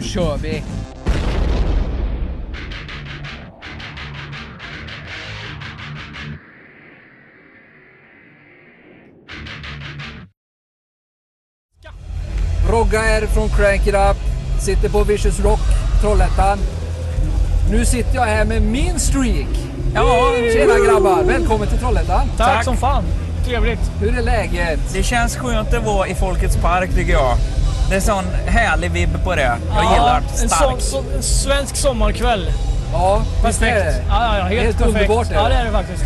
kör vi! Rogga är från Crank It Up, sitter på Vicious Rock, Trollhättan. Nu sitter jag här med min streak. Ja, Tjena grabbar, välkommen till Trollhättan. Tack, Tack. som fan. Trevligt. Hur är läget? Det känns skönt att vara i Folkets Park tycker jag. Det är sån härlig vibb på det. Jag gillar det. en, Stark. so- so- en svensk sommarkväll. Ja, visst är Perfekt. det? Ja, ja, ja, helt, Helt perfekt. underbart är Ja, det. det är det faktiskt.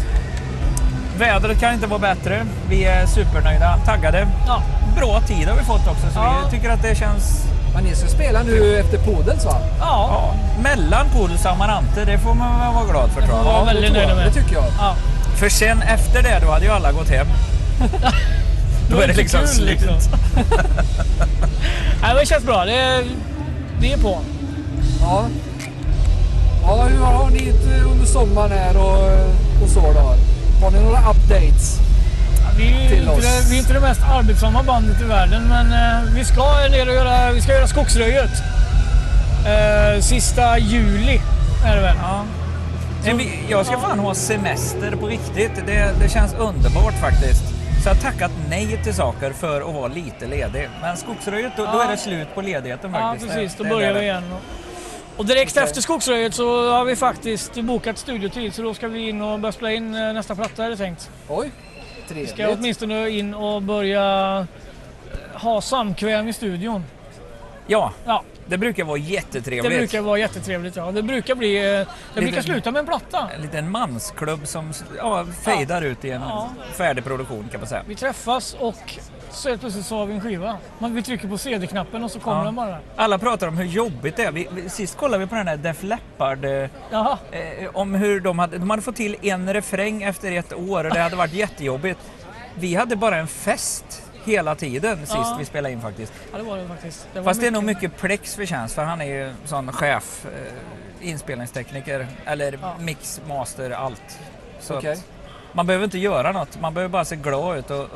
Vädret kan inte vara bättre. Vi är supernöjda, taggade. Ja. Bra tid har vi fått också, så Ja. vi tycker att det känns... Men ni ska spela nu efter Podels va? Ja. Ja, mellan Pouls och Amarante, det får man väl vara glad för tror Ja, jag. det väldigt tror jag. nöjd med. Det tycker jag. ja. För sen efter det, då hade ju alla gått hem. då är det så liksom kul, slut. liksom. Nej, men det känns bra. Det är, vi är på. Ja. Ja, hur har ni det under sommaren här och, och så då? Har ni några updates? Vi är, Till inte oss. det, vi är inte det mest arbetsamma bandet i världen, men eh, vi ska ner och göra, vi ska göra skogsröjet. Eh, sista juli är det väl? Ja. Nej, vi- Jag ska fan ha semester på riktigt. Det, det känns underbart faktiskt. Så jag har tackat nej till saker för att vara lite ledig. Men skogsröjet, då, då Ja. är det slut på ledigheten Ja, faktiskt. precis. Då Det- det är börjar det. vi igen. Och direkt efter Skogsröjet så har vi faktiskt bokat studiotid så då ska vi in och börja spela in eh, nästa platta är det tänkt. Oj, Vi ska trevligt. åtminstone in och börja eh, ha samkväm i studion. Ja, Ja, det brukar vara det jättetrevligt. brukar vara jättetrevligt. Ja. Det brukar bli... eh, Det brukar sluta med en platta. En liten mansklubb som ja, fejdar ut i en Ja. färdig produktion kan man säga. Vi träffas och så helt plötsligt så har vi en skiva. Man, vi trycker på CD-knappen och så kommer Ja. den bara. Alla pratar om hur jobbigt det är. Vi, vi, sist kollade vi på den här Def Leppard eh, Jaha. Eh, om hur de hade, de hade fått till en refräng efter ett år och det hade varit jättejobbigt. Vi hade bara en fest hela tiden sist Ja. vi spelade in faktiskt. Ja, det var det faktiskt. var Fast det är nog mycket Plex förtjänst för han är ju sån chef, eh, inspelningstekniker eller Ja. mix, master, allt. Så Okej. att man behöver inte göra något, man behöver bara se glad ut och, och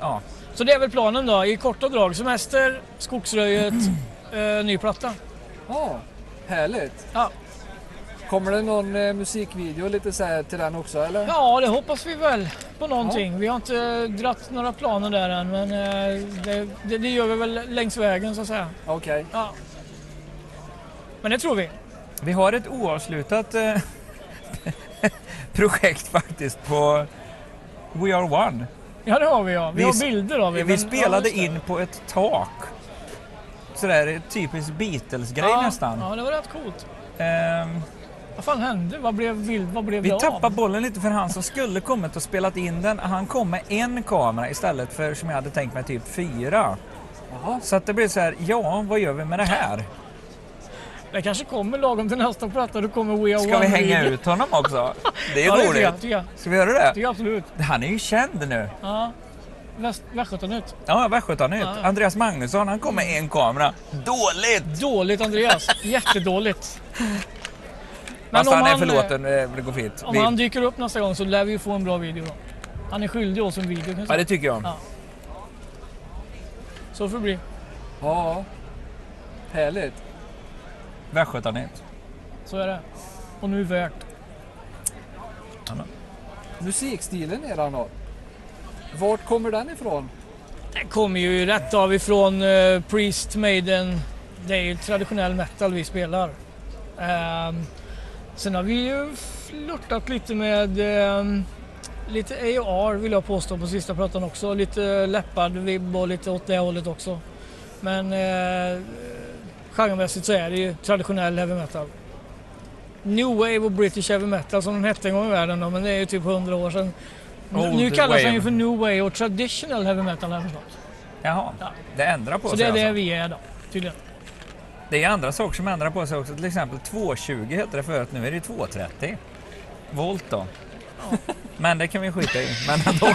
ja. Så det är väl planen då, i korta drag. Semester, Skogsröjet, eh, ny platta. Ja, härligt. Ja. Kommer det någon eh, musikvideo lite så här till den också eller? Ja, det hoppas vi väl på någonting. Vi har inte eh, dratt några planer där än, men eh, det, det, det gör vi väl längs vägen så att säga. Okej. Ja. Men det tror vi. Vi har ett oavslutat eh, projekt faktiskt på We Are One. Ja, det har vi ja. Vi, Vi har s- bilder av det. Vi men- spelade ja, just det. in på ett tak. Sådär typiskt Beatles-grej ja, nästan. Ja, det var rätt coolt. Ehm, Vad fan hände? Vad blev, bild, vad blev vi det tappade av? bollen lite för han som skulle kommit och spelat in den. Han kom med en kamera istället för som jag hade tänkt mig typ fyra. Jaha. Så att det blev så här, ja vad gör vi med det här? Det kanske kommer lagom till nästa platta. Då kommer We Are Ska One vi hänga video. ut honom också? Det är Ja, det tycker jag. roligt. Tycker jag. Ska vi göra det? Tycker jag absolut. Han är ju känd nu. Ja. Väst- Västgötanytt. Ja, Västgötanytt. Ja. Andreas Magnusson, han kom med en kamera. Dåligt! Dåligt Andreas. Jättedåligt. Fast om han är han, eh, förlåten, eh, det går fint. Om Vi- han dyker upp nästa gång så lär vi ju få en bra video då. Han är skyldig oss en video. kan jag Ja, säga. det tycker jag. Ja. Så får det bli. Ja. Härligt. Västgötanytt. Så är det. Och nu värt. Musikstilen eran har. Vart kommer den ifrån? Den kommer ju rätt av ifrån eh, Priest, Maiden. Det är ju traditionell metal vi spelar. Ehm, sen har vi ju flörtat lite med ehm, lite AR vill jag påstå på sista plattan också. Lite Leppard-vibb och lite åt det hållet också. Men eh, genremässigt så är det ju traditionell heavy metal. New Wave och British Heavy Metal som de hette en gång i världen då, men det är ju typ 100 år sedan. Nu- Old nu kallas den wave. ju för New Wave och Traditional Heavy Metal har jag förstått. Jaha, Ja. det ändrar Så på sig det är alltså. det vi är då, tydligen. Det är andra saker som ändrar på sig också. Till exempel 220 hette det förut, nu är det 230 volt då. Men det kan vi skita i. Men ändå.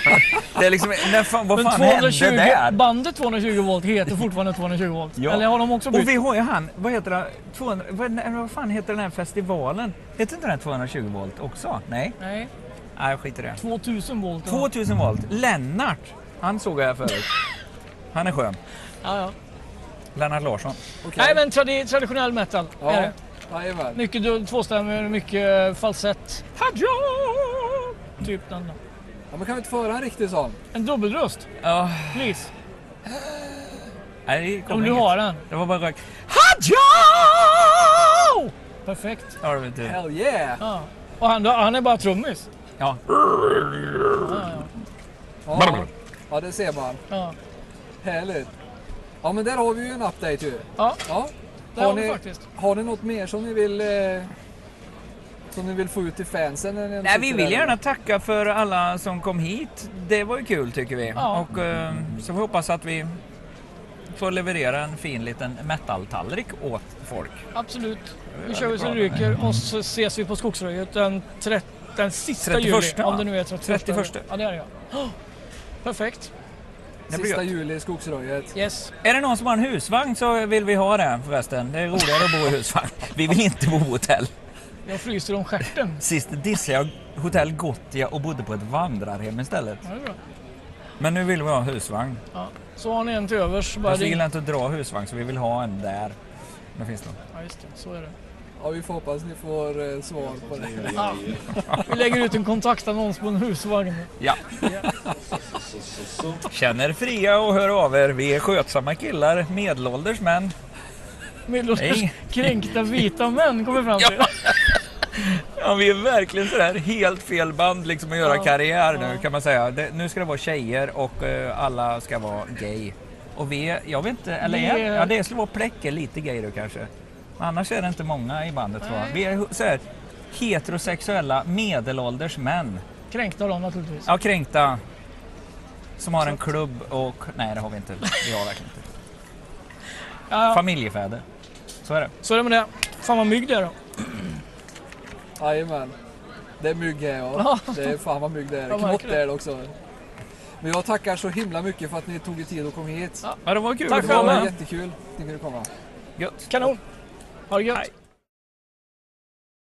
Det är liksom, när fan, vad Men fan hände 220, där? bandet 220 volt heter fortfarande 220 volt. Ja. Eller har de också bytt? Och vi har ju han, vad heter det, 200, vad, nej, vad fan heter den här festivalen? Heter inte den 220 volt också? Nej, Nej, nej jag skiter i det. 2000 volt. 2000 volt, Lennart, han såg jag här förut. Han är skön. Ja, ja. Lennart Larsson. Okej. Nej men tradi- traditionell metal är Ja, det. jajamän. Mycket dull, tvåstämmor, mycket eh, falsett. Hadja! Typ den. Ja, men kan vi inte få höra en riktig sån? En dubbelröst, Ja, please. nej, det kom Om du inget. har Oh, den. Det var bara rök. Hadja! Perfekt. Ja, det var inte- Hell yeah! Ja. Och han, han är bara trummis. Ja. Ja, ja. Ja, ja det ser man. ja. Härligt. Ja, men där har vi ju en update ju. ja Ja. det har vi faktiskt. har ni något mer som ni vill eh, som ni vill få ut till fansen? än en Nej, vi vill kulturell- gärna tacka för alla som kom hit. Det var ju kul tycker vi. Ja. Och eh, så vi hoppas att vi får leverera en fin liten metal-tallrik åt folk. Absolut. Nu Ja, kör det vi är så bra det det ryker och så ses vi på Skogsröjet den, tret- den sista 31, juli. Om va? det nu är 31. 31. Ja, det är det ja. Oh, perfekt. Det blir Sista gött. juli i Skogsröjet. Yes. Är det någon som har en husvagn så vill vi ha det förresten. Det är roligare att bo i husvagn. Vi vill inte bo på hotell. Jag fryser om stjärten. Sist dissade jag hotell Gotia och bodde på ett vandrarhem istället. Ja, det är bra. Men nu vill vi ha husvagn. Ja. Så har ni en till övers bara Fast vi ring. gillar inte att dra husvagn så vi vill ha en där. Det finns någon. Ja, just det. Så är det. Ja, vi får hoppas ni får eh, svar på det. Ja. Vi lägger ut en kontaktannons på en husvagn. Ja. Känner fria och hör av er. Vi är skötsamma killar, medelålders män. Medelålders Nej. kränkta vita män kommer vi fram till. Ja, vi är verkligen sådär helt fel band liksom att göra Ja. karriär nu Ja. kan man säga. Det, nu ska det vara tjejer och eh, alla ska vara gay. Och vi är, jag vet inte, eller Vi är, är- ja det slår vara pläcke lite gay då kanske. Annars är det inte många i bandet va? Nej. Vi är hu- såhär heterosexuella medelålders män. Kränkta dem naturligtvis. Ja, kränkta. Som har en klubb och... Nej, det har vi inte. Vi har verkligen inte. Ja, ja. Familjefäder. Så är det. Så är det med det. Fan vad mygg det är då. Jajamän. Det är mygg här ja. Det är fan vad mygg det är. Jag Knott märker det. är det också. Men jag tackar så himla mycket för att ni tog er tid att komma hit. Ja, Ja, det var kul. Tack Det själva. var själv. jättekul att ni kunde komma. Gött. Kanon. Ha det gött. Hej.